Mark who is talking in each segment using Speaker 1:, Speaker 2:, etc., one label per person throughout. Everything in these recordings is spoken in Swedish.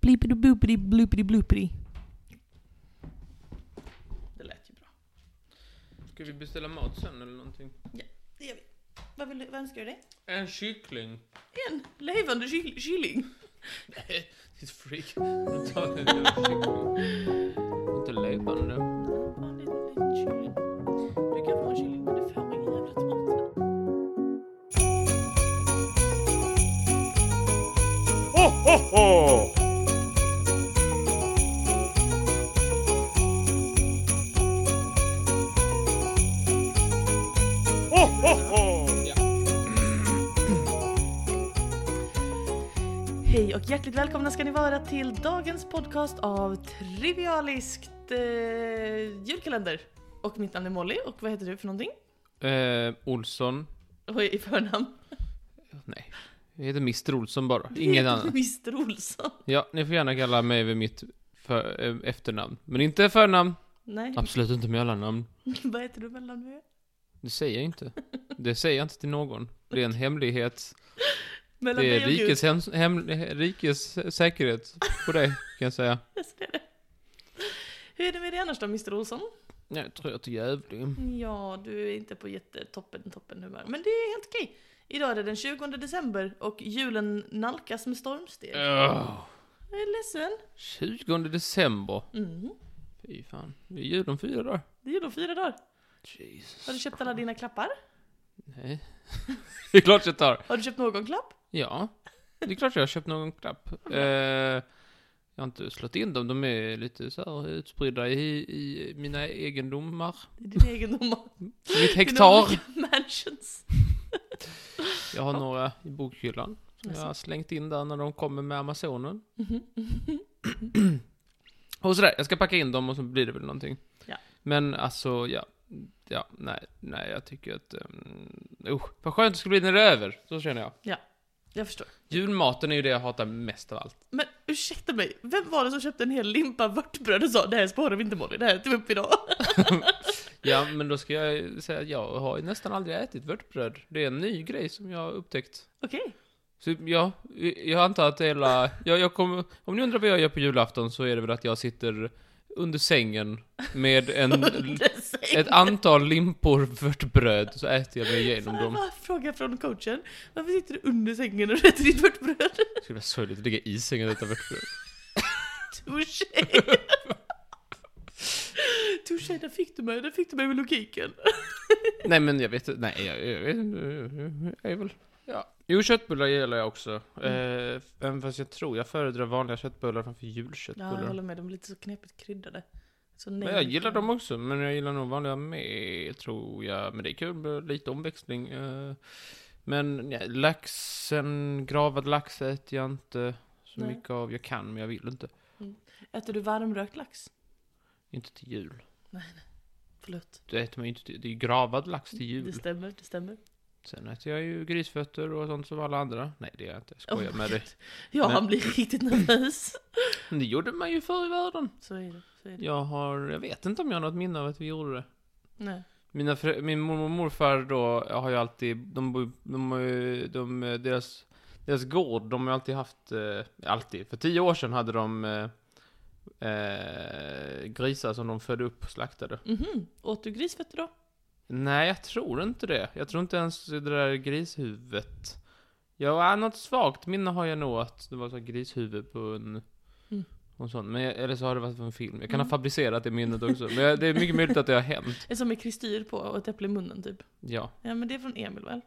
Speaker 1: Blipidi boopidi bloopidi bloopidi.
Speaker 2: Det lät ju bra.
Speaker 3: Ska vi beställa mat sen eller någonting?
Speaker 2: Det gör vi. Vad, vill du, vad önskar du dig?
Speaker 3: En kyckling.
Speaker 2: En levande kyl- kylling.
Speaker 3: Nej, ditt freak. Nu tar jag en jävla kyckling. Inte levande.
Speaker 2: Ja, det är en liten kylling. Du kan få en kylling men du får ingen jävla tomte. Hej och hjärtligt välkomna ska ni vara till dagens podcast av Trivialiskt eh, julkalender. Och mitt namn är Molly och vad heter du för någonting?
Speaker 3: Eh, Olsson.
Speaker 2: Och i förnamn?
Speaker 3: Nej. Jag heter Mr Olsson bara.
Speaker 2: Du
Speaker 3: Ingen
Speaker 2: heter
Speaker 3: annan.
Speaker 2: Mr Olsson.
Speaker 3: Ja, ni får gärna kalla mig vid mitt för, eh, efternamn. Men inte förnamn.
Speaker 2: Nej,
Speaker 3: Absolut inte med alla namn.
Speaker 2: vad heter du mellan nu?
Speaker 3: Det säger jag inte. Det säger jag inte till någon. Det är en hemlighet.
Speaker 2: Mellan
Speaker 3: Det
Speaker 2: dig
Speaker 3: är
Speaker 2: och Gud.
Speaker 3: rikets, hem, hem, rikes säkerhet på dig, kan jag säga.
Speaker 2: Hur är det med dig annars då Mr Olsson?
Speaker 3: Jag tror jag till Gävle.
Speaker 2: Ja, du är inte på jättetoppen toppen humör. Men det är helt okej. Idag är det den 20 december och julen nalkas med stormsteg.
Speaker 3: Öh,
Speaker 2: Jag är ledsen.
Speaker 3: 20 december.
Speaker 2: Mm.
Speaker 3: Fy fan. Det är jul om fyra dagar.
Speaker 2: Det är ju då fyra dagar.
Speaker 3: Jesus.
Speaker 2: Har du köpt alla dina klappar?
Speaker 3: Nej. Det är klart jag tar.
Speaker 2: Har du köpt någon klapp?
Speaker 3: Ja. Det är klart jag har köpt någon klapp. Eh, jag har inte slått in dem. De är lite så här utspridda i, i mina egendomar.
Speaker 2: Det är din egendom.
Speaker 3: Mitt Mm. hektar.
Speaker 2: Mansions.
Speaker 3: Jag har några i bokhyllan. Som jag
Speaker 2: Jaså.
Speaker 3: har slängt in där när de kommer med Amazonen.
Speaker 2: Mhm.
Speaker 3: Och sådär, jag ska packa in dem och så blir det väl någonting.
Speaker 2: Ja.
Speaker 3: Men alltså, ja. Ja, nej, nej, jag tycker att... Um, usch, vad skönt det skulle bli när det är över. Så känner jag.
Speaker 2: Jag förstår.
Speaker 3: Julmaten är ju det jag hatar mest av allt.
Speaker 2: Men ursäkta mig, vem var det som köpte en hel limpa vörtbröd och sa det här sparar vi inte Molly, det här äter vi upp idag?
Speaker 3: Ja, men då ska jag säga att jag har ju nästan aldrig ätit vörtbröd. Det är en ny grej som jag har upptäckt.
Speaker 2: Okej.
Speaker 3: Så ja, jag antar att hela... Jag, jag kommer, om ni undrar vad jag gör på julafton så är det väl att jag sitter under sängen med en,
Speaker 2: Under sängen.
Speaker 3: Mm. ett antal limpor vörtbröd, så äter jag mig igenom
Speaker 2: Fan,
Speaker 3: dem.
Speaker 2: vad- Fråga från coachen. Varför sitter du under sängen och äter ditt vörtbröd?
Speaker 3: Det skulle vara sorgligt att ligga i sängen och äta vörtbröd.
Speaker 2: Touché! Touché, där fick du mig, där fick du mig med logiken.
Speaker 3: Nej, men jag vet inte. Nej, jag, jag, vet inte. jag är väl... Ja. Jo, köttbullar gillar jag också. Eh, även fast jag tror jag föredrar vanliga köttbullar framför julköttbullar.
Speaker 2: Ja, jag håller med, de är lite så knepigt kryddade. Så nej.
Speaker 3: Men jag gillar dem också, men jag gillar nog vanliga med, tror jag. Men det är kul med lite omväxling. eh. Men ja, laxen, gravad lax äter jag inte så
Speaker 2: Nej.
Speaker 3: mycket av. Jag kan, men jag vill inte.
Speaker 2: Äter du varmrökt lax?
Speaker 3: Inte till jul.
Speaker 2: Förlåt.
Speaker 3: Det äter man ju inte till, det är ju gravad lax till
Speaker 2: Mm, Det
Speaker 3: jul.
Speaker 2: stämmer, det stämmer.
Speaker 3: Sen äter jag ju grisfötter och sånt som alla andra. Nej, det gör jag inte. Jag skojar
Speaker 2: Oh my
Speaker 3: med dig.
Speaker 2: God. Ja,
Speaker 3: Men-
Speaker 2: han blir riktigt nervös.
Speaker 3: Men det gjorde man ju förr i världen.
Speaker 2: Så är det, så är det.
Speaker 3: Jag har, jag vet inte om jag har något minne av att vi gjorde det.
Speaker 2: Nej.
Speaker 3: Mina frö- min mormor och morfar då har ju alltid, de, bor- de, har ju- de, deras, deras gård, de har ju alltid haft, eh, alltid, för tio år sedan hade de eh, eh, grisar som de födde upp och slaktade.
Speaker 2: Mhm. Åt du grisfötter då?
Speaker 3: Nej, jag tror inte det. Jag tror inte ens det där grishuvudet. Ja, något svagt minne har jag nog att det var så här grishuvud på en...
Speaker 2: Mm.
Speaker 3: Och sånt. Men, jag- eller så har det varit på en film. Jag kan
Speaker 2: Mm.
Speaker 3: ha fabricerat det minnet också. Men jag, det är mycket möjligt att det har hänt.
Speaker 2: En som är kristyr på och ett äpple i munnen typ.
Speaker 3: Ja.
Speaker 2: Ja, men det är från Emil väl?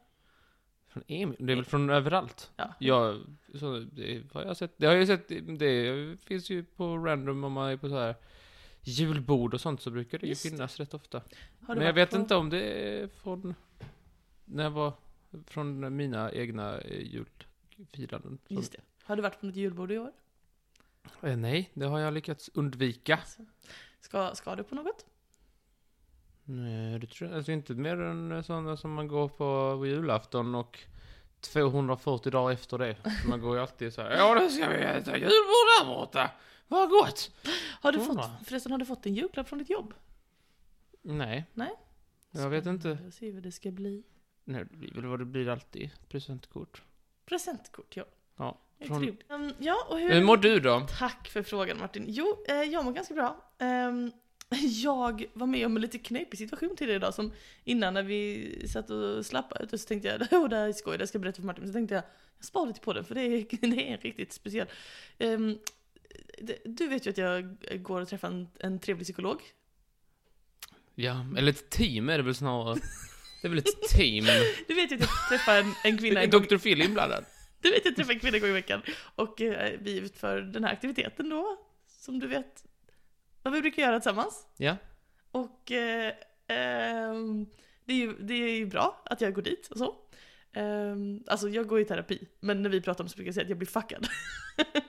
Speaker 3: Från Emil? Det är väl från överallt?
Speaker 2: Ja.
Speaker 3: Ja, så, det har jag sett. Det har jag ju sett, det finns ju på random om man är på så här julbord och sånt så brukar det ju
Speaker 2: Just det.
Speaker 3: finnas rätt ofta.
Speaker 2: Har du
Speaker 3: Men jag
Speaker 2: varit
Speaker 3: vet
Speaker 2: på-
Speaker 3: inte om det är från, när jag var, från mina egna eh, julfiranden. Så-
Speaker 2: Just det. Har du varit på något julbord i år?
Speaker 3: Eh, Nej, det har jag lyckats undvika.
Speaker 2: Ska, ska du på något?
Speaker 3: Nej, det tror jag alltså inte mer än sådana som man går på, på julafton och 240 dagar efter det. Så Man går ju alltid så här. Ja, nu ska vi äta julbord där borta. Vad gott!
Speaker 2: Har du
Speaker 3: Ja.
Speaker 2: fått, förresten, har du fått en julklapp från ditt jobb?
Speaker 3: Nej.
Speaker 2: Nej.
Speaker 3: Jag vet inte.
Speaker 2: Jag ser vad det ska bli.
Speaker 3: Nej, det blir väl vad det blir alltid. Presentkort.
Speaker 2: Presentkort, ja.
Speaker 3: Ja. Från-
Speaker 2: Trevligt. Ehm, ja, och hur...
Speaker 3: Hur mår du då?
Speaker 2: Tack för frågan Martin. Jo, eh, jag mår ganska bra. Ehm, jag var med om en lite knepig situation tidigare idag som innan när vi satt och slappade ut och så tänkte jag, åh det här är skoj, det här ska jag berätta för Martin. Så tänkte jag, jag sparar lite på den för det är, det är en riktigt speciell. Ehm, det- du vet ju att jag går och träffar en, en trevlig psykolog.
Speaker 3: Ja, eller ett team är det väl snarare. Det är väl ett team.
Speaker 2: Du vet ju att jag träffar en, en kvinna
Speaker 3: Är
Speaker 2: en gång
Speaker 3: Dr. Phil inblandad?
Speaker 2: Du vet, jag träffar en kvinna en gång i veckan och eh, vi utför den här aktiviteten då, som du vet vad vi brukar göra tillsammans.
Speaker 3: Ja.
Speaker 2: Och eh, ehm, det, är ju, det är ju bra att jag går dit och så. Ehm, alltså jag går i terapi, men när vi pratar om det så brukar jag säga att jag blir fuckad.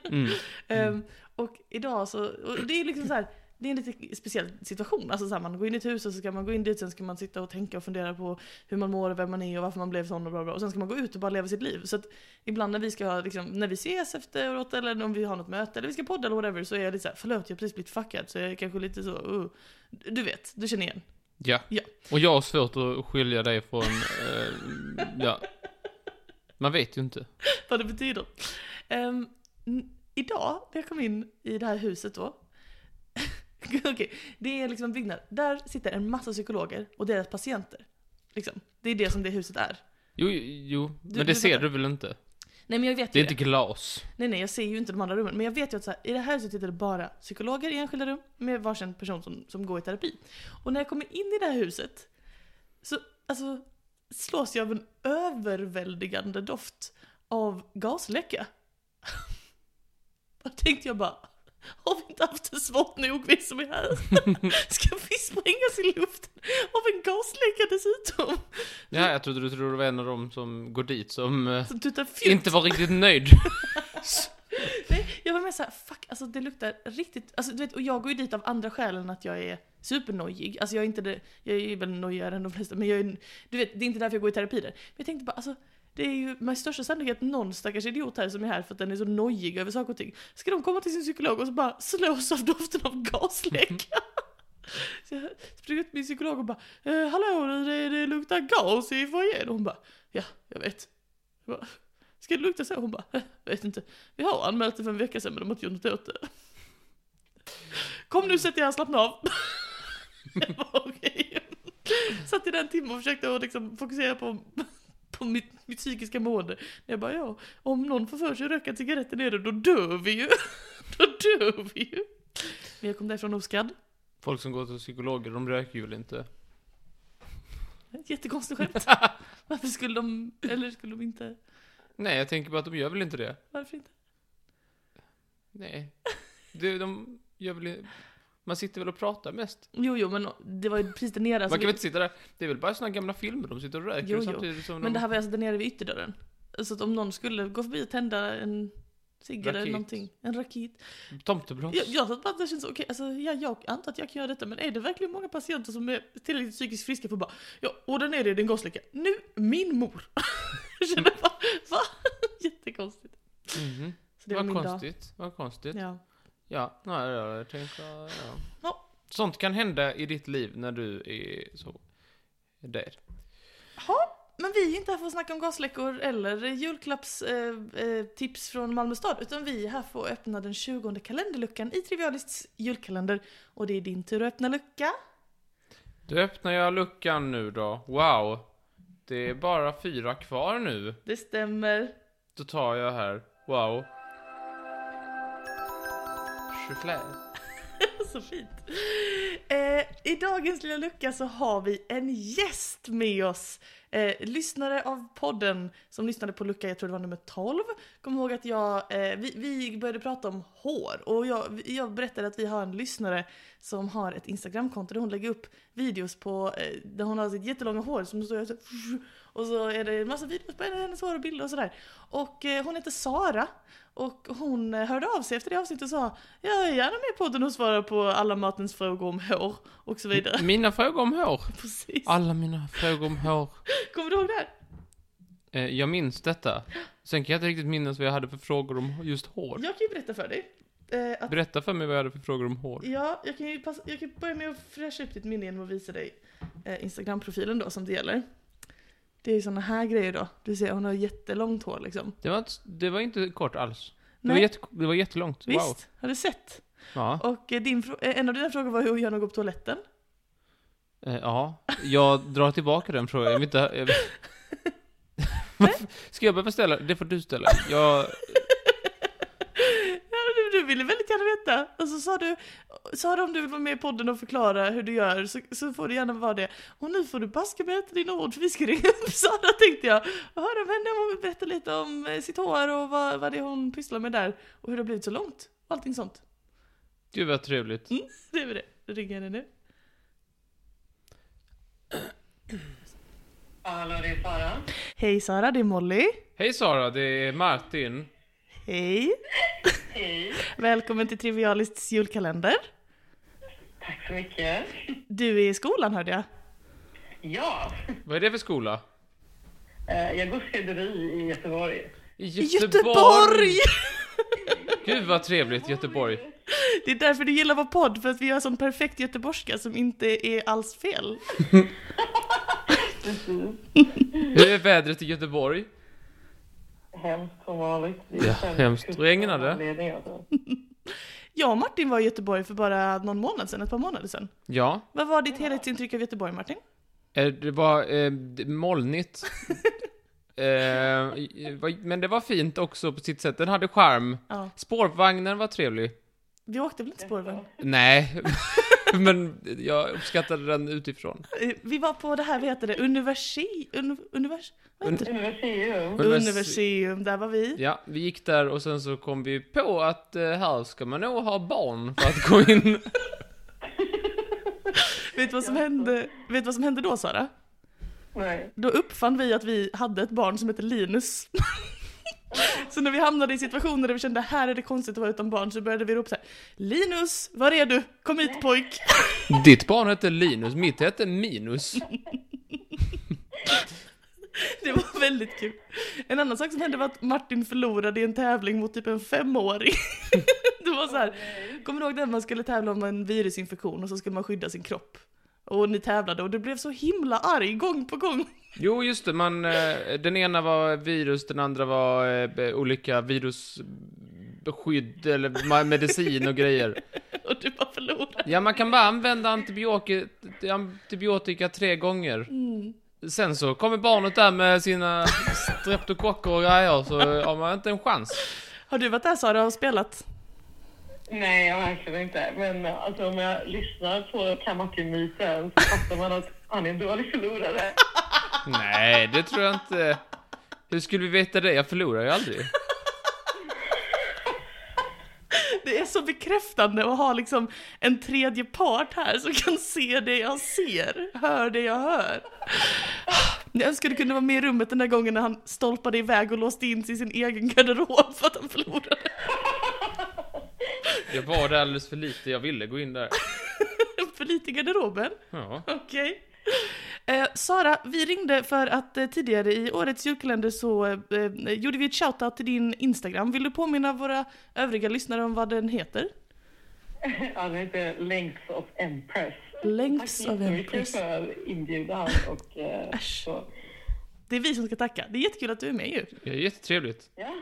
Speaker 3: Mm.
Speaker 2: Ehm,
Speaker 3: Mm.
Speaker 2: och idag så, och det är liksom så här, det är en lite speciell situation. Alltså så här, man går in i ett hus och så ska man gå in dit, sen ska man sitta och tänka och fundera på hur man mår och vem man är och varför man blev sån och bla bla. Och sen ska man gå ut och bara leva sitt liv. Så att ibland när vi ska ha, liksom, när vi ses efteråt eller om vi har något möte eller vi ska podda eller whatever så är jag lite såhär, förlåt jag har precis blivit fuckad så jag är kanske lite så, uh. Du vet, du känner igen.
Speaker 3: Ja.
Speaker 2: Ja.
Speaker 3: Och jag har svårt att skilja dig från, eh, ja. Man vet ju inte.
Speaker 2: vad det betyder. Ehm, n- idag, när jag kom in i det här huset då. Okej, det är liksom en byggnad. Där sitter en massa psykologer och deras patienter. Liksom. Det är det som det huset är.
Speaker 3: Jo, jo, men det
Speaker 2: du
Speaker 3: ser
Speaker 2: fattar.
Speaker 3: du väl inte?
Speaker 2: Nej men jag vet
Speaker 3: Det
Speaker 2: ju
Speaker 3: är inte glas.
Speaker 2: Nej nej, jag ser ju inte de andra rummen. Men jag vet ju att så här, i det här huset sitter det bara psykologer i enskilda rum med varsin person som, som går i terapi. Och när jag kommer in i det här huset så alltså, slås jag av en överväldigande doft av gasläcka. Då tänkte jag bara, har vi inte haft det svårt nog vi som är här? Ska vi sprängas i luften av en gasläcka dessutom? Mm.
Speaker 3: Ja, jag trodde du trodde det var en av dem som går dit som eh,
Speaker 2: Som tutar fjutt.
Speaker 3: inte var riktigt nöjd.
Speaker 2: Nej, jag var med såhär, fuck, alltså det luktar riktigt, alltså du vet, och jag går ju dit av andra skäl än att jag är supernojig. Alltså jag är inte det, jag är väl nojigare än de flesta, men jag är, du vet, det är inte därför jag går i terapi där. Men jag tänkte bara, alltså det är ju med största sannolikhet någon stackars idiot här som är här för att den är så nojig över saker och ting. Ska de komma till sin psykolog och så bara slås av doften av gasläcka? Så jag springer ut till min psykolog och bara eh, Hallå, det, det luktar gas i foajén. Och Hon bara Ja, jag vet. Jag bara, Ska det lukta så? Hon bara "Eh, Vet inte. Vi har anmält det för en vecka sedan men de har inte gjort något åt det. Kom nu sätt dig här och slappna av. Jag bara, okej. Satt i den timmen och försökte att liksom fokusera på, på mitt, mitt psykiska mående. Jag bara ja, om någon får för sig att röka cigaretter nere då dör vi ju. Då dör vi ju. Men jag kom därifrån oskadd.
Speaker 3: Folk som går till psykologer, de röker ju väl inte?
Speaker 2: Ett jättekonstigt skämt. Varför skulle de, eller skulle de inte,
Speaker 3: Nej, jag tänker bara att de gör väl inte det.
Speaker 2: varför inte?
Speaker 3: Nej. Det, de gör väl Man sitter väl och pratar mest?
Speaker 2: Jo, jo, men Alltså det var ju precis där nere. alltså,
Speaker 3: man kan väl inte sitta där? Det är väl bara såna gamla filmer, de sitter och röker
Speaker 2: Jo, jo.
Speaker 3: samtidigt som
Speaker 2: Men
Speaker 3: de...
Speaker 2: det här var alltså där nere vid ytterdörren. Så att om någon skulle gå förbi och tända en cigg eller
Speaker 3: Raket.
Speaker 2: någonting, en rakit.
Speaker 3: Tomtebloss.
Speaker 2: Jag, jag satt bara, det känns okej, alltså, ja, jag antar att jag kan göra detta, men är det verkligen många patienter som är tillräckligt psykiskt friska för att bara ja, och där nere är det en gasläcka. Nu, min mor! jag kände bara, va? Jättekonstigt.
Speaker 3: Mhm.
Speaker 2: Så det var,
Speaker 3: vad
Speaker 2: min
Speaker 3: konstigt, vad konstigt.
Speaker 2: dag. Ja.
Speaker 3: Ja, nej, ja, jag tänker, ja.
Speaker 2: Ja.
Speaker 3: Sånt kan hända i ditt liv när du är så där.
Speaker 2: Men vi är inte här för att snacka om gasläckor eller julklappstips eh, tips från Malmö stad utan vi är här för att öppna den 20 kalenderluckan i Trivialists julkalender. Och det är din tur att öppna lucka.
Speaker 3: Då öppnar jag luckan nu då. Wow. Det är bara fyra kvar nu.
Speaker 2: Det stämmer.
Speaker 3: Då tar jag här. Wow. Choklad.
Speaker 2: Så fint. Eh, I dagens lilla lucka så har vi en gäst med oss. Eh, lyssnare av podden som lyssnade på lucka, jag tror det var nummer 12. Kom ihåg att jag, eh, vi, vi började prata om hår och jag, jag berättade att vi har en lyssnare som har ett Instagramkonto där hon lägger upp videos på, eh, där hon har sitt jättelånga hår som står så och så är det en massa videos på hennes hår och bilder och sådär. Och eh, hon heter Sara och hon eh, hörde av sig efter det avsnittet och sa jag är gärna med i podden och svarar på alla Martins frågor om hår och så vidare.
Speaker 3: Mina frågor om hår.
Speaker 2: Precis.
Speaker 3: Alla mina frågor om hår.
Speaker 2: Kommer du ihåg det här?
Speaker 3: Eh, jag minns detta. Sen kan jag inte riktigt minnas vad jag hade för frågor om just hår.
Speaker 2: Jag kan ju berätta för dig. Eh, att,
Speaker 3: Berätta för mig vad jag hade för frågor om hår.
Speaker 2: ja, jag kan ju passa, jag kan börja med att fräscha upp ditt minne genom att visa dig eh, Instagram-profilen då som det gäller. Det är ju såna här grejer då. Du ser, hon har jättelångt hår liksom.
Speaker 3: Det var, inte, det var inte kort alls. Det,
Speaker 2: Nej,
Speaker 3: var, jätte, det var jättelångt.
Speaker 2: visst.
Speaker 3: Wow.
Speaker 2: Har du sett?
Speaker 3: Ja.
Speaker 2: Och eh, din, frå- eh, en av dina frågor var hur hon gör när hon går på toaletten.
Speaker 3: Eh, ja. Jag drar tillbaka den frågan. Jag vill inte... Jag vill... Varför- Ska jag behöva ställa? Det får du ställa. Jag...
Speaker 2: Ja, men du, du ville väldigt gärna veta. Och så sa du, sa du om du vill vara med i podden och förklara hur du gör så, så får du gärna vara det. Och nu får du baska mig äta dina ord för vi ska ringa upp Sara tänkte jag. Och höra av henne om hon vill berätta lite om eh, sitt hår och vad, vad det är hon pysslar med där. Och hur det har blivit så långt. Och allting sånt.
Speaker 3: Gud vad trevligt.
Speaker 2: Mm, det är väl det. Då ringer jag henne nu.
Speaker 4: Hallå, det är Sara.
Speaker 2: Hej Sara, det är Molly.
Speaker 3: Hej Sara, det är Martin.
Speaker 2: Hej.
Speaker 4: Hej.
Speaker 2: Välkommen till Trivialists julkalender.
Speaker 4: Tack så mycket.
Speaker 2: Du är i skolan hörde jag.
Speaker 4: Ja,
Speaker 3: Vad är det för skola?
Speaker 4: eh, jag går skrädderi i Göteborg.
Speaker 3: I
Speaker 2: Göteborg!
Speaker 3: Gud vad trevligt, Göteborg.
Speaker 2: Det är därför du gillar vår podd, för att vi gör sån perfekt göteborgska som inte är alls fel.
Speaker 4: Precis.
Speaker 3: Hur är vädret i Göteborg?
Speaker 4: Hemskt som vanligt. Det
Speaker 3: Ja,
Speaker 4: fem
Speaker 3: hemskt.
Speaker 4: kurser
Speaker 3: Regnade det?
Speaker 4: anledning, alltså.
Speaker 2: Jag och Martin var i Göteborg för bara någon månad sedan, ett par månader sedan.
Speaker 3: Ja,
Speaker 2: Vad var ditt helhetsintryck av Göteborg, Martin?
Speaker 3: eh, det var eh, d- molnigt. Eh, vad- men det var fint också på sitt sätt. Den hade charm.
Speaker 2: Ja.
Speaker 3: Spårvagnen var trevlig.
Speaker 2: Vi åkte väl inte spårvagn?
Speaker 3: Nej, men jag uppskattade den utifrån.
Speaker 2: Eh, Vi var på det här, vad heter det, universi... Un, univers, vad heter det?
Speaker 4: Universium.
Speaker 3: Univers-
Speaker 2: Universium, där var vi.
Speaker 3: Ja, vi gick där och sen så kom vi på att eh, här ska man nog ha barn för att gå in.
Speaker 2: Vet du vad som hände, vet du vad som hände då, Sara?
Speaker 4: Nej.
Speaker 2: Då uppfann vi att vi hade ett barn som hette Linus. så när vi hamnade i situationer där vi kände här är det konstigt att vara utan barn så började vi ropa så här, Linus, var är du? Kom hit pojk!
Speaker 3: Ditt barn hette Linus, mitt hette Minus.
Speaker 2: Det var väldigt kul. En annan sak som hände var att Martin förlorade i en tävling mot typ en femåring. Det var så här. kommer du ihåg den man skulle tävla om en virusinfektion och så skulle man skydda sin kropp? Och ni tävlade och du blev så himla arg gång på gång.
Speaker 3: Jo, just det, man, eh, den ena var virus, den andra var eh, be- olika virusbeskydd eller ma- medicin och grejer.
Speaker 2: Och du bara förlorade.
Speaker 3: Ja, man kan bara använda antibiotika, antibiotika tre gånger. Sen så kommer barnet där med sina streptokocker och grejer, så har man inte en chans.
Speaker 2: Har du varit där Sara och spelat?
Speaker 4: Nej, jag verkligen inte. Men eh, alltså, om jag lyssnar på Kamaki-myten så fattar man att han är en dålig förlorare.
Speaker 3: Nej, det tror jag inte. Hur skulle vi veta det? Jag förlorar ju aldrig.
Speaker 2: Det är så bekräftande att ha liksom en tredje part här som kan se det jag ser, hör det jag hör. Jag önskar du kunde vara med i rummet den där gången när han stolpade iväg och låste in sig i sin egen garderob för att han förlorade.
Speaker 3: Jag var där alldeles för lite, jag ville gå in där.
Speaker 2: För lite i garderoben?
Speaker 3: Ja.
Speaker 2: Okej. Eh, Sara, vi ringde för att eh, tidigare i årets julkalender så eh, eh, gjorde vi ett shoutout till din Instagram. Vill du påminna våra övriga lyssnare om vad den heter?
Speaker 4: Han heter Lengths of Empress.
Speaker 2: Lengths of Empress.
Speaker 4: Tack så mycket för inbjudan. Och, eh,
Speaker 2: Äsch.
Speaker 4: så.
Speaker 2: Det är vi som ska tacka. Det är jättekul att du är med ju.
Speaker 3: Det är jättetrevligt.
Speaker 4: Ja.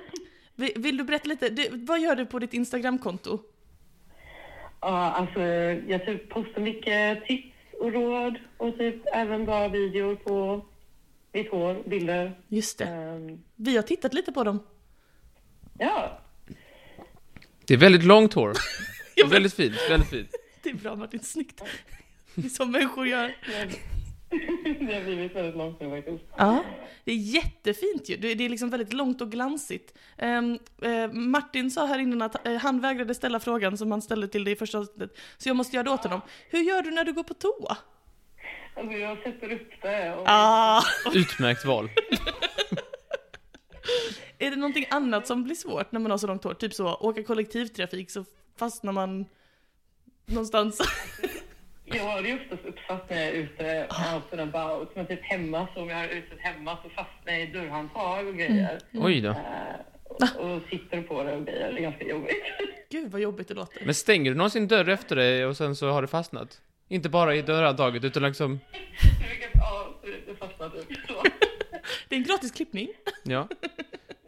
Speaker 2: Vi- Vill du berätta lite, du, vad gör du på ditt Instagramkonto?
Speaker 4: Ja, alltså jag typ postar mycket tips och råd och typ även bara videor på mitt hår, bilder.
Speaker 2: Just det,
Speaker 4: Ehm,
Speaker 2: vi har tittat lite på dem.
Speaker 4: ja,
Speaker 3: Det är väldigt långt hår.
Speaker 2: Ja,
Speaker 3: Och väldigt fint, väldigt fint.
Speaker 2: Det är bra Martin, snyggt. Det är som människor gör.
Speaker 4: det har blivit väldigt långt nu faktiskt.
Speaker 2: Ja. Det är jättefint ju, det det är liksom väldigt långt och glansigt. Ehm, eh, Martin sa här innan att eh, han vägrade ställa frågan som han ställde till dig i första avsnittet, så jag måste göra det åt honom. Hur gör du när du går på toa?
Speaker 4: Alltså jag sätter upp det och
Speaker 2: Ah.
Speaker 3: Utmärkt val.
Speaker 2: Är det någonting annat som blir svårt när man har så långt hår? Typ så, åka kollektivtrafik så fastnar man någonstans.
Speaker 4: jag har ju oftast uppsatt när jag är ute out and about. Men typ hemma, så om jag är ute hemma så fastnar jag i dörrhandtag och grejer.
Speaker 3: Oj då.
Speaker 4: Ehm, och, och sitter på det och grejer. Det är ganska jobbigt.
Speaker 2: Gud vad jobbigt det låter.
Speaker 3: Men stänger du någonsin dörr efter dig och sen så har det fastnat? Inte bara i dörrhandtaget utan liksom...
Speaker 4: Ja, det fastnar typ så.
Speaker 2: Det är en gratis klippning.
Speaker 3: Ja.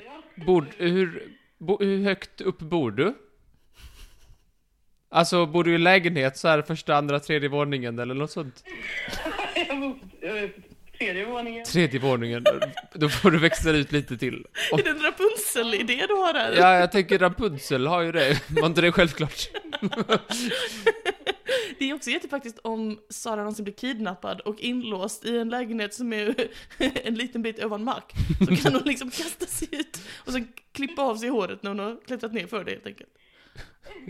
Speaker 4: Ja.
Speaker 3: Bord, hur, bo, hur högt upp bor du? Alltså, bor du i lägenhet så här första, andra, tredje våningen eller något sånt?
Speaker 4: Jag bor på eh, tredje våningen.
Speaker 3: Tredje våningen. Då får du växla ut lite till. Om-
Speaker 2: Är det en Rapunzel-idé du har här?
Speaker 3: Ja, jag tänker Rapunzel har ju det. Var inte det självklart?
Speaker 2: Det är också jättepraktiskt om Sara någonsin blir kidnappad och inlåst i en lägenhet som är en liten bit ovan mark. Så kan hon liksom kasta sig ut och sen klippa av sig håret när hon har klättrat ner för det helt enkelt.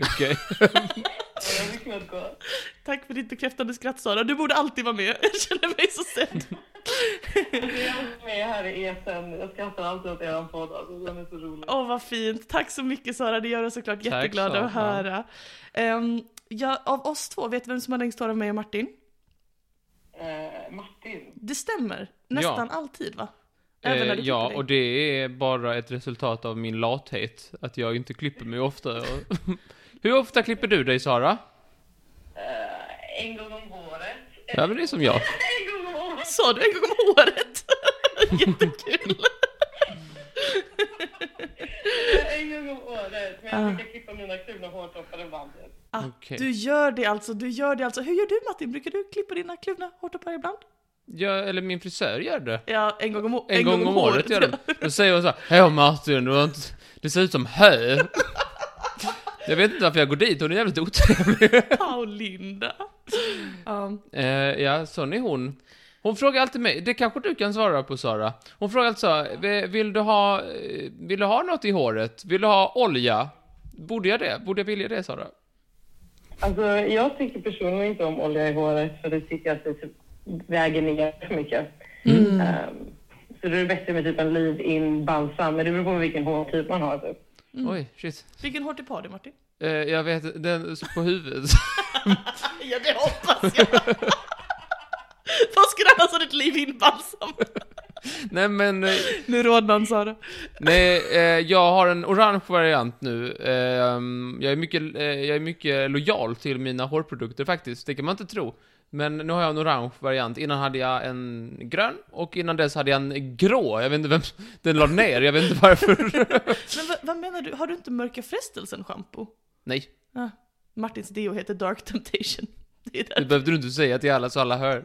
Speaker 3: Okej.
Speaker 4: Ja, Jag fick nog gå.
Speaker 2: Tack för ditt bekräftande skratt Sara, du borde alltid vara med. Jag känner mig så sedd.
Speaker 4: Jag har varit med här i eten. Jag skrattar alltid åt er podd. Alltså, den är så rolig.
Speaker 2: Åh vad fint, tack så mycket Sara, det gör oss såklart jätteglada
Speaker 3: Sara.
Speaker 2: att höra. Ehm, ja, av oss två, vet du vem som har längst hår av mig och Martin?
Speaker 4: Eh, Martin.
Speaker 2: Det stämmer, nästan alltid va? Även när du
Speaker 3: Eh, ja,
Speaker 2: klipper dig.
Speaker 3: och det är bara ett resultat av min lathet. Att jag inte klipper mig ofta. Och... Hur ofta klipper du dig, Sara?
Speaker 4: Eh, en gång om året.
Speaker 3: Ja, men det är som jag.
Speaker 4: En gång om året.
Speaker 2: Sa du en gång om året? Jättekul!
Speaker 4: En gång om året. Men jag brukar klippa mina kulna hårtoppar i bandet.
Speaker 2: Ah,
Speaker 3: Okej.
Speaker 2: Du gör det alltså, du gör det alltså. Hur gör du Martin? Brukar du klippa dina kluvna hårtoppar ibland?
Speaker 3: jag eller min frisör gör det.
Speaker 2: Ja, en gång om, å-
Speaker 3: En, gång, om året gör de. Då säger hon så här, Hej Martin, du har inte... Det ser ut som hö. jag vet inte varför jag går dit, hon är jävligt otrevlig.
Speaker 2: Paulinda. Um,
Speaker 3: Eh, ja, sån är hon. Hon frågar alltid mig, det kanske du kan svara på Sara. Hon frågar alltid så här, "Vi- vill du ha, eh, vill du ha något i håret? Vill du ha olja? Borde jag det? Borde jag vilja det Sara?
Speaker 4: Alltså, jag tycker personligen inte om olja i håret för det tycker jag att det typ väger ner för mycket. Ehm, så då är det bättre med typ en leave-in balsam, men det beror på vilken hårtyp man har. Typ.
Speaker 3: Oj, shit.
Speaker 2: vilken hårtopp har du Martin?
Speaker 3: Eh, jag vet, den på huvudet.
Speaker 2: Ja, det hoppas jag! Vad skulle annars ha ditt liv in balsam?
Speaker 3: Nej men, eh,
Speaker 2: Nu rodnar han Sara.
Speaker 3: Nej, eh, jag har en orange variant nu. Ehm, jag, är mycket, eh, jag är mycket lojal till mina hårprodukter faktiskt, det kan man inte tro. Men nu har jag en orange variant. Innan hade jag en grön, och innan dess hade jag en grå. Jag vet inte vem den la ner, jag vet inte varför.
Speaker 2: Men vad, vad menar du? Har du inte mörka frestelsen shampoo?
Speaker 3: Nej,
Speaker 2: Ah, Martins deo heter Dark Temptation. Det är
Speaker 3: det
Speaker 2: där.
Speaker 3: behövde du inte säga till alla så alla hör.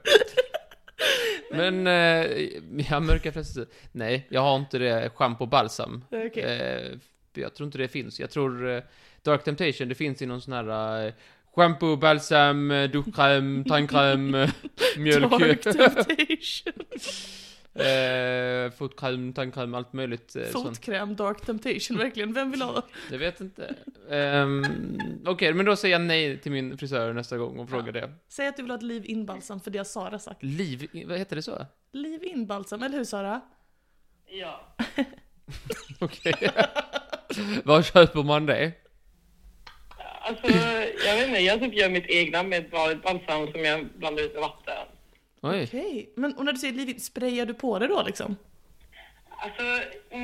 Speaker 3: Men, eh, jag mörka frestelser. Nej, jag har inte det. Schampo och balsam.
Speaker 2: Okej.
Speaker 3: Eh, för jag tror inte det finns. Jag tror eh, Dark Temptation, det finns i någon sån här eh, shampoo, balsam, eh, duschkräm, tandkräm, eh, mjölk,
Speaker 2: Dark Temptation.
Speaker 3: eh, fotkräm, tandkräm, allt möjligt eh, sånt.
Speaker 2: Fotkräm, Dark Temptation, verkligen. Vem vill ha?
Speaker 3: Jag vet inte. Ehm, Okej, men då säger jag nej till min frisör nästa gång och frågar det.
Speaker 2: Säg att du vill ha ett liv in balsam för det har Sara sagt.
Speaker 3: Liv, vad heter det så?
Speaker 2: Liv in balsam, eller hur Sara?
Speaker 4: Ja.
Speaker 3: Okej. Var köper man det?
Speaker 4: Alltså, jag vet inte, jag typ gör mitt egna med ett vanligt balsam som jag blandar ut med vatten.
Speaker 3: Oj.
Speaker 2: Okej, men och när du säger liv in, sprayar du på det då liksom?
Speaker 4: Alltså,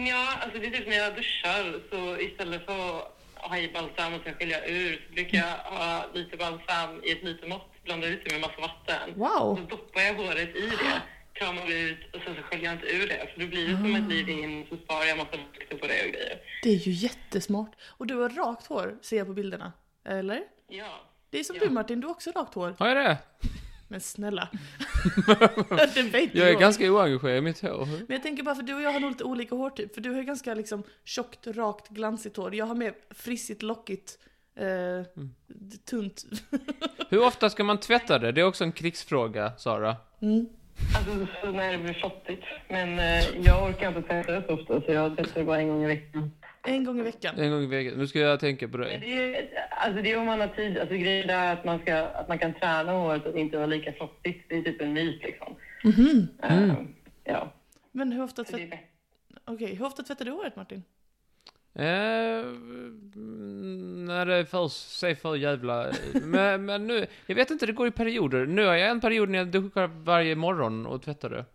Speaker 4: ja, alltså det är typ när jag duschar så istället för att ha i balsam och sen skilja ur så brukar jag ha lite balsam i ett litet mått, blanda ut det med massa vatten.
Speaker 2: Wow.
Speaker 4: Så doppar jag håret i det, kramar ut och sen så sköljer jag inte ur det. För det blir det som ett liv in så sparar jag massa lukter på det och grejer.
Speaker 2: Det är ju jättesmart. Och du har rakt hår, ser jag på bilderna. Eller?
Speaker 4: Ja.
Speaker 2: Det är som du Martin, du har också rakt hår.
Speaker 3: Har jag det?
Speaker 2: Men snälla. det vet
Speaker 3: Jag är
Speaker 2: jag.
Speaker 3: ganska oengagerad i mitt hår.
Speaker 2: Men jag tänker bara för du och jag har nog lite olika hårtyp. För du har ju ganska liksom tjockt, rakt, glansigt hår. Jag har mer frissigt, lockigt, eh,
Speaker 3: Mm.
Speaker 2: d- tunt.
Speaker 3: Hur ofta ska man tvätta det? Det är också en krigsfråga, Sara.
Speaker 2: Mm.
Speaker 4: Alltså så när det blir flottigt. Men eh, jag orkar inte tvätta det så ofta så jag tvättar det bara en gång i veckan.
Speaker 2: En gång i veckan.
Speaker 3: En gång i veckan. Nu ska jag tänka på dig.
Speaker 4: Det är, alltså det är om man har tid. Alltså grejen är att man, ska, att man kan träna håret och inte vara lika flottigt. Det är typ en myt liksom.
Speaker 2: Mm.
Speaker 4: Eh, ja,
Speaker 2: Men hur ofta,
Speaker 4: så det är
Speaker 2: tvätt...
Speaker 4: bättre.
Speaker 2: Okej, hur ofta tvättar du håret Martin?
Speaker 3: Eh, mm, när det är för, säg för jävla... men, men nu, jag vet inte, det går i perioder. Nu har jag en period när jag duschar varje morgon och tvättar det.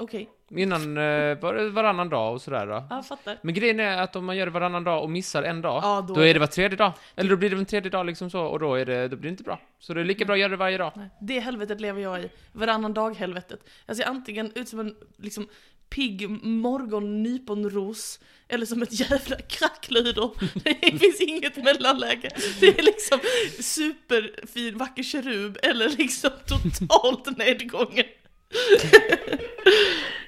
Speaker 2: Okej,
Speaker 3: Innan eh, var, varannan dag och sådär. Då.
Speaker 2: ja, jag fattar.
Speaker 3: Men grejen är att om man gör det varannan dag och missar en dag,
Speaker 2: Ja,
Speaker 3: då, är det var tredje dag. Eller då blir det en tredje dag liksom så, och då, är det, då blir det inte bra. Så det är lika bra att göra det varje dag.
Speaker 2: Nej, det helvetet lever jag i. Varannan dag-helvetet. Jag ser antingen ut som en liksom, pigg morgonnyponros eller som ett jävla krackludor. Det finns inget mellanläge. Det är liksom superfin, vacker kerub eller liksom totalt nedgången.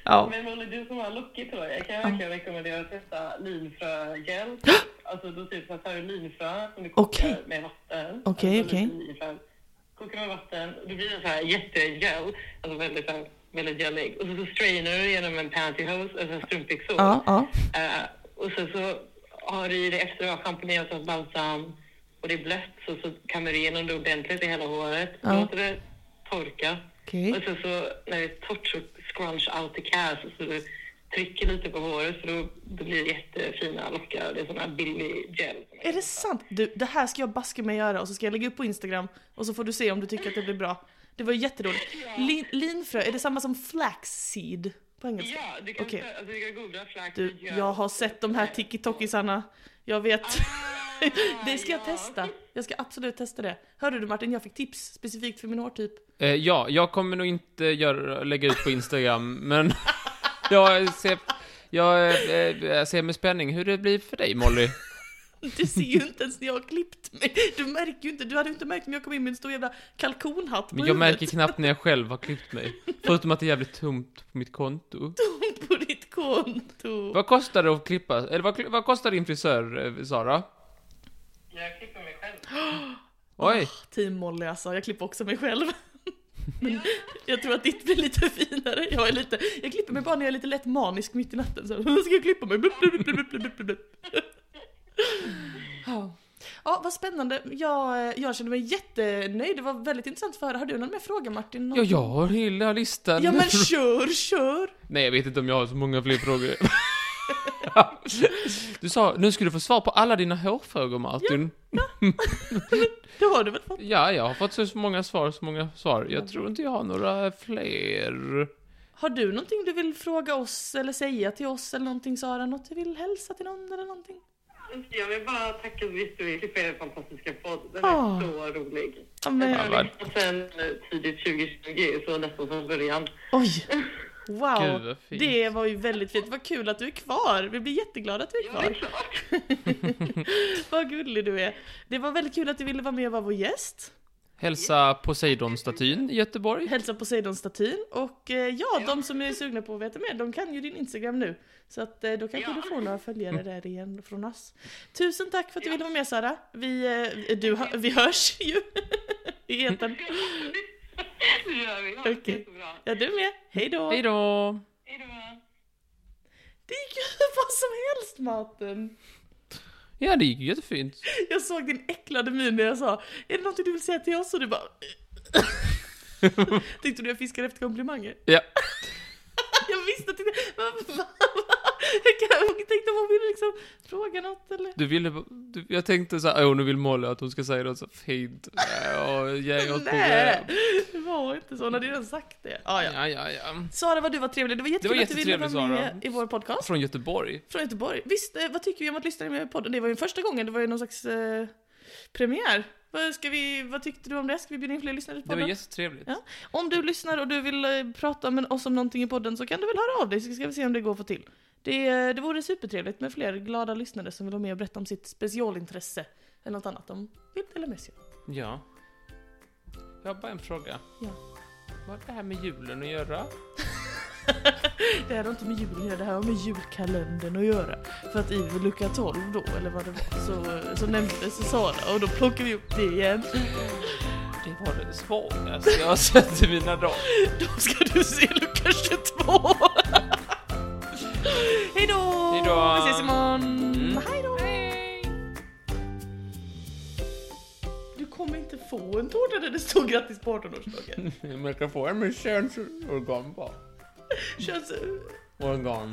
Speaker 2: ja.
Speaker 4: Men Molly, du som har lockigt hår, jag kan verkligen rekommendera att testa linfrögel. Alltså då typ så tar du linfrö som du kokar
Speaker 2: Okej.
Speaker 4: med vatten.
Speaker 2: Okej,
Speaker 4: alltså,
Speaker 2: okej.
Speaker 4: lite linfrö. Kokar med vatten, då blir den så här jättegel. Alltså väldigt, så här- väldigt gelig. Och så, så strainar du genom en pantyhose, alltså en strumpbyxor.
Speaker 2: Ja, ja.
Speaker 4: Eh, och sen så har du i det efter du har schamponerat och balsam och det är blött så, så kammar du igenom det ordentligt i hela håret.
Speaker 2: Ja.
Speaker 4: Låter det torka.
Speaker 2: Okej.
Speaker 4: Och sen så när det är torrt så scrunch out the cast så du trycker lite på håret så då, då blir det jättefina lockar. Det är sån här billig gel.
Speaker 2: Är det sant? Du, det här ska jag baske mig göra och så ska jag lägga upp på Instagram och så får du se om du tycker att det blir bra. Det var ju jätteroligt. Lin, linfrö, är det samma som flaxseed på engelska?
Speaker 4: Ja, du kan,
Speaker 2: Okej.
Speaker 4: alltså, du kan googla flax.
Speaker 2: Du, jag har sett de här tiki-tokisarna. Jag vet.
Speaker 4: Ah,
Speaker 2: Det ska jag testa. Jag ska absolut testa det. Hörde du Martin, jag fick tips specifikt för min hårtyp.
Speaker 3: Eh, ja, jag kommer nog inte göra, lägga ut på Instagram, men jag ser, jag, eh, eh, ser med spänning hur det blir för dig, Molly.
Speaker 2: Du ser ju inte ens när jag har klippt mig. Du märker ju inte. Du hade ju inte märkt om jag kom in med en stor jävla kalkonhatt på
Speaker 3: Men jag märker
Speaker 2: huvudet.
Speaker 3: knappt när jag själv har klippt mig. Förutom att det är jävligt tomt på mitt konto.
Speaker 2: på ditt konto.
Speaker 3: Vad kostar det att klippa? Eller vad, vad kostar din frisör, eh, Sara?
Speaker 4: Jag klipper mig själv.
Speaker 2: Ah.
Speaker 3: Oj!
Speaker 2: Team Molly alltså, jag klipper också mig själv. Men jag tror att ditt blir lite finare. Jag, är lite, jag klipper mig bara när jag är lite lätt manisk mitt i natten. Så här, ska jag klippa mig? Blup, blup, blup, blup, blup, blup, blup. Ja, Ja, vad spännande. Jag, eh, jag känner mig jättenöjd. Det var väldigt intressant att höra. Har du någon mer fråga Martin? Någon-
Speaker 3: Ja, jag har hela listan.
Speaker 2: Ja men kör, kör!
Speaker 3: Nej, jag vet inte om jag har så många fler frågor. Du sa, nu ska du få svar på alla dina hårfrågor, Martin.
Speaker 2: Det har du väl fått?
Speaker 3: Ja, jag har fått så många svar, så många svar. Jag tror inte jag har några fler.
Speaker 2: Har du någonting du vill fråga oss eller säga till oss eller någonting Sara? Något du vill hälsa till någon eller någonting?
Speaker 4: Jag vill bara tacka så jättemycket för er fantastiska podd. Den är
Speaker 2: Ah.
Speaker 4: så rolig.
Speaker 2: Ja, men,
Speaker 3: Ja,
Speaker 4: Jag
Speaker 3: vad-
Speaker 4: har lyssnat sen eh, tidigt 2020, så nästan från början.
Speaker 2: Oj! Wow!
Speaker 3: Gud, vad fint.
Speaker 2: det var ju väldigt fint. Vad kul att du är kvar. Vi blir jätteglada att du är
Speaker 4: Ja, det är
Speaker 2: kvar.
Speaker 4: klart.
Speaker 2: Vad gullig du är. Det var väldigt kul att du ville vara med och vara vår gäst.
Speaker 3: Hälsa Poseidon-statyn i Göteborg.
Speaker 2: Hälsa Poseidon-statyn. Och eh, ja, de som är sugna på att veta mer, de kan ju din Instagram nu. Så att eh, då kanske
Speaker 4: Ja.
Speaker 2: du får några följare där igen från oss. Tusen tack för att du ville vara med Sara. Vi, eh, du, hö- vi hörs ju i etern.
Speaker 4: Det gör vi. Ha det
Speaker 2: Okej.
Speaker 4: jättebra.
Speaker 2: Ja, du med. Hej då!
Speaker 3: Hej då!
Speaker 4: Hej då.
Speaker 2: Det gick ju hur bra som helst Martin!
Speaker 3: Ja, det gick ju jättefint.
Speaker 2: Jag såg din äcklade min när jag sa Är det någonting du vill säga till oss? Och du bara Tyckte du jag fiskade efter komplimanger?
Speaker 3: Ja.
Speaker 2: Jag visste att det men vad- vad- Jag kan- jag tänkte om hon ville liksom fråga något eller
Speaker 3: Du ville... Du, jag tänkte så här, åh, nu vill Molly att hon ska säga något så fint. Ja, ge åt
Speaker 2: Nej! Det var inte så, hon hade ju redan sagt det ah, ja.
Speaker 3: Ja, ja, ja.
Speaker 2: Sara vad du var trevlig, det var jättekul att du ville vara
Speaker 3: jättetrevligt,
Speaker 2: med
Speaker 3: Sara.
Speaker 2: i vår podcast
Speaker 3: Från Göteborg.
Speaker 2: Från Göteborg. Visst, eh, vad tycker vi om att lyssna med podden? Det var ju första gången, det var ju någon slags eh, premiär. Vad, ska vi, vad tyckte du om det? Ska vi bjuda in fler lyssnare till
Speaker 3: Det var
Speaker 2: podden?
Speaker 3: jättetrevligt.
Speaker 2: Ja. Om du lyssnar och du vill eh, prata med oss om någonting i podden så kan du väl höra av dig så ska vi se om det går att få till. Det, eh, det vore supertrevligt med fler glada lyssnare som vill vara med och berätta om sitt specialintresse eller något annat om vilt eller mössigt.
Speaker 3: Ja. Jag har bara en fråga.
Speaker 2: Ja.
Speaker 3: Vad har det här med julen att göra?
Speaker 2: Det här har inte med julen att göra, det här har med julkalendern att göra. För att i lucka 12 då, eller vad det var, så, så nämndes Sara och då plockar vi upp det igen.
Speaker 3: Det var det svagaste jag har sett i mina dagar.
Speaker 2: Då ska du se lucka 22! Hej då!
Speaker 3: Hej då!
Speaker 2: Vi ses imorgon!
Speaker 3: Mm.
Speaker 2: Hej då! Du kommer inte få en tårta där det står grattis på 18-årsdagen.
Speaker 3: Man kan få en med könsorgan bara.
Speaker 2: Känns...
Speaker 3: Organ.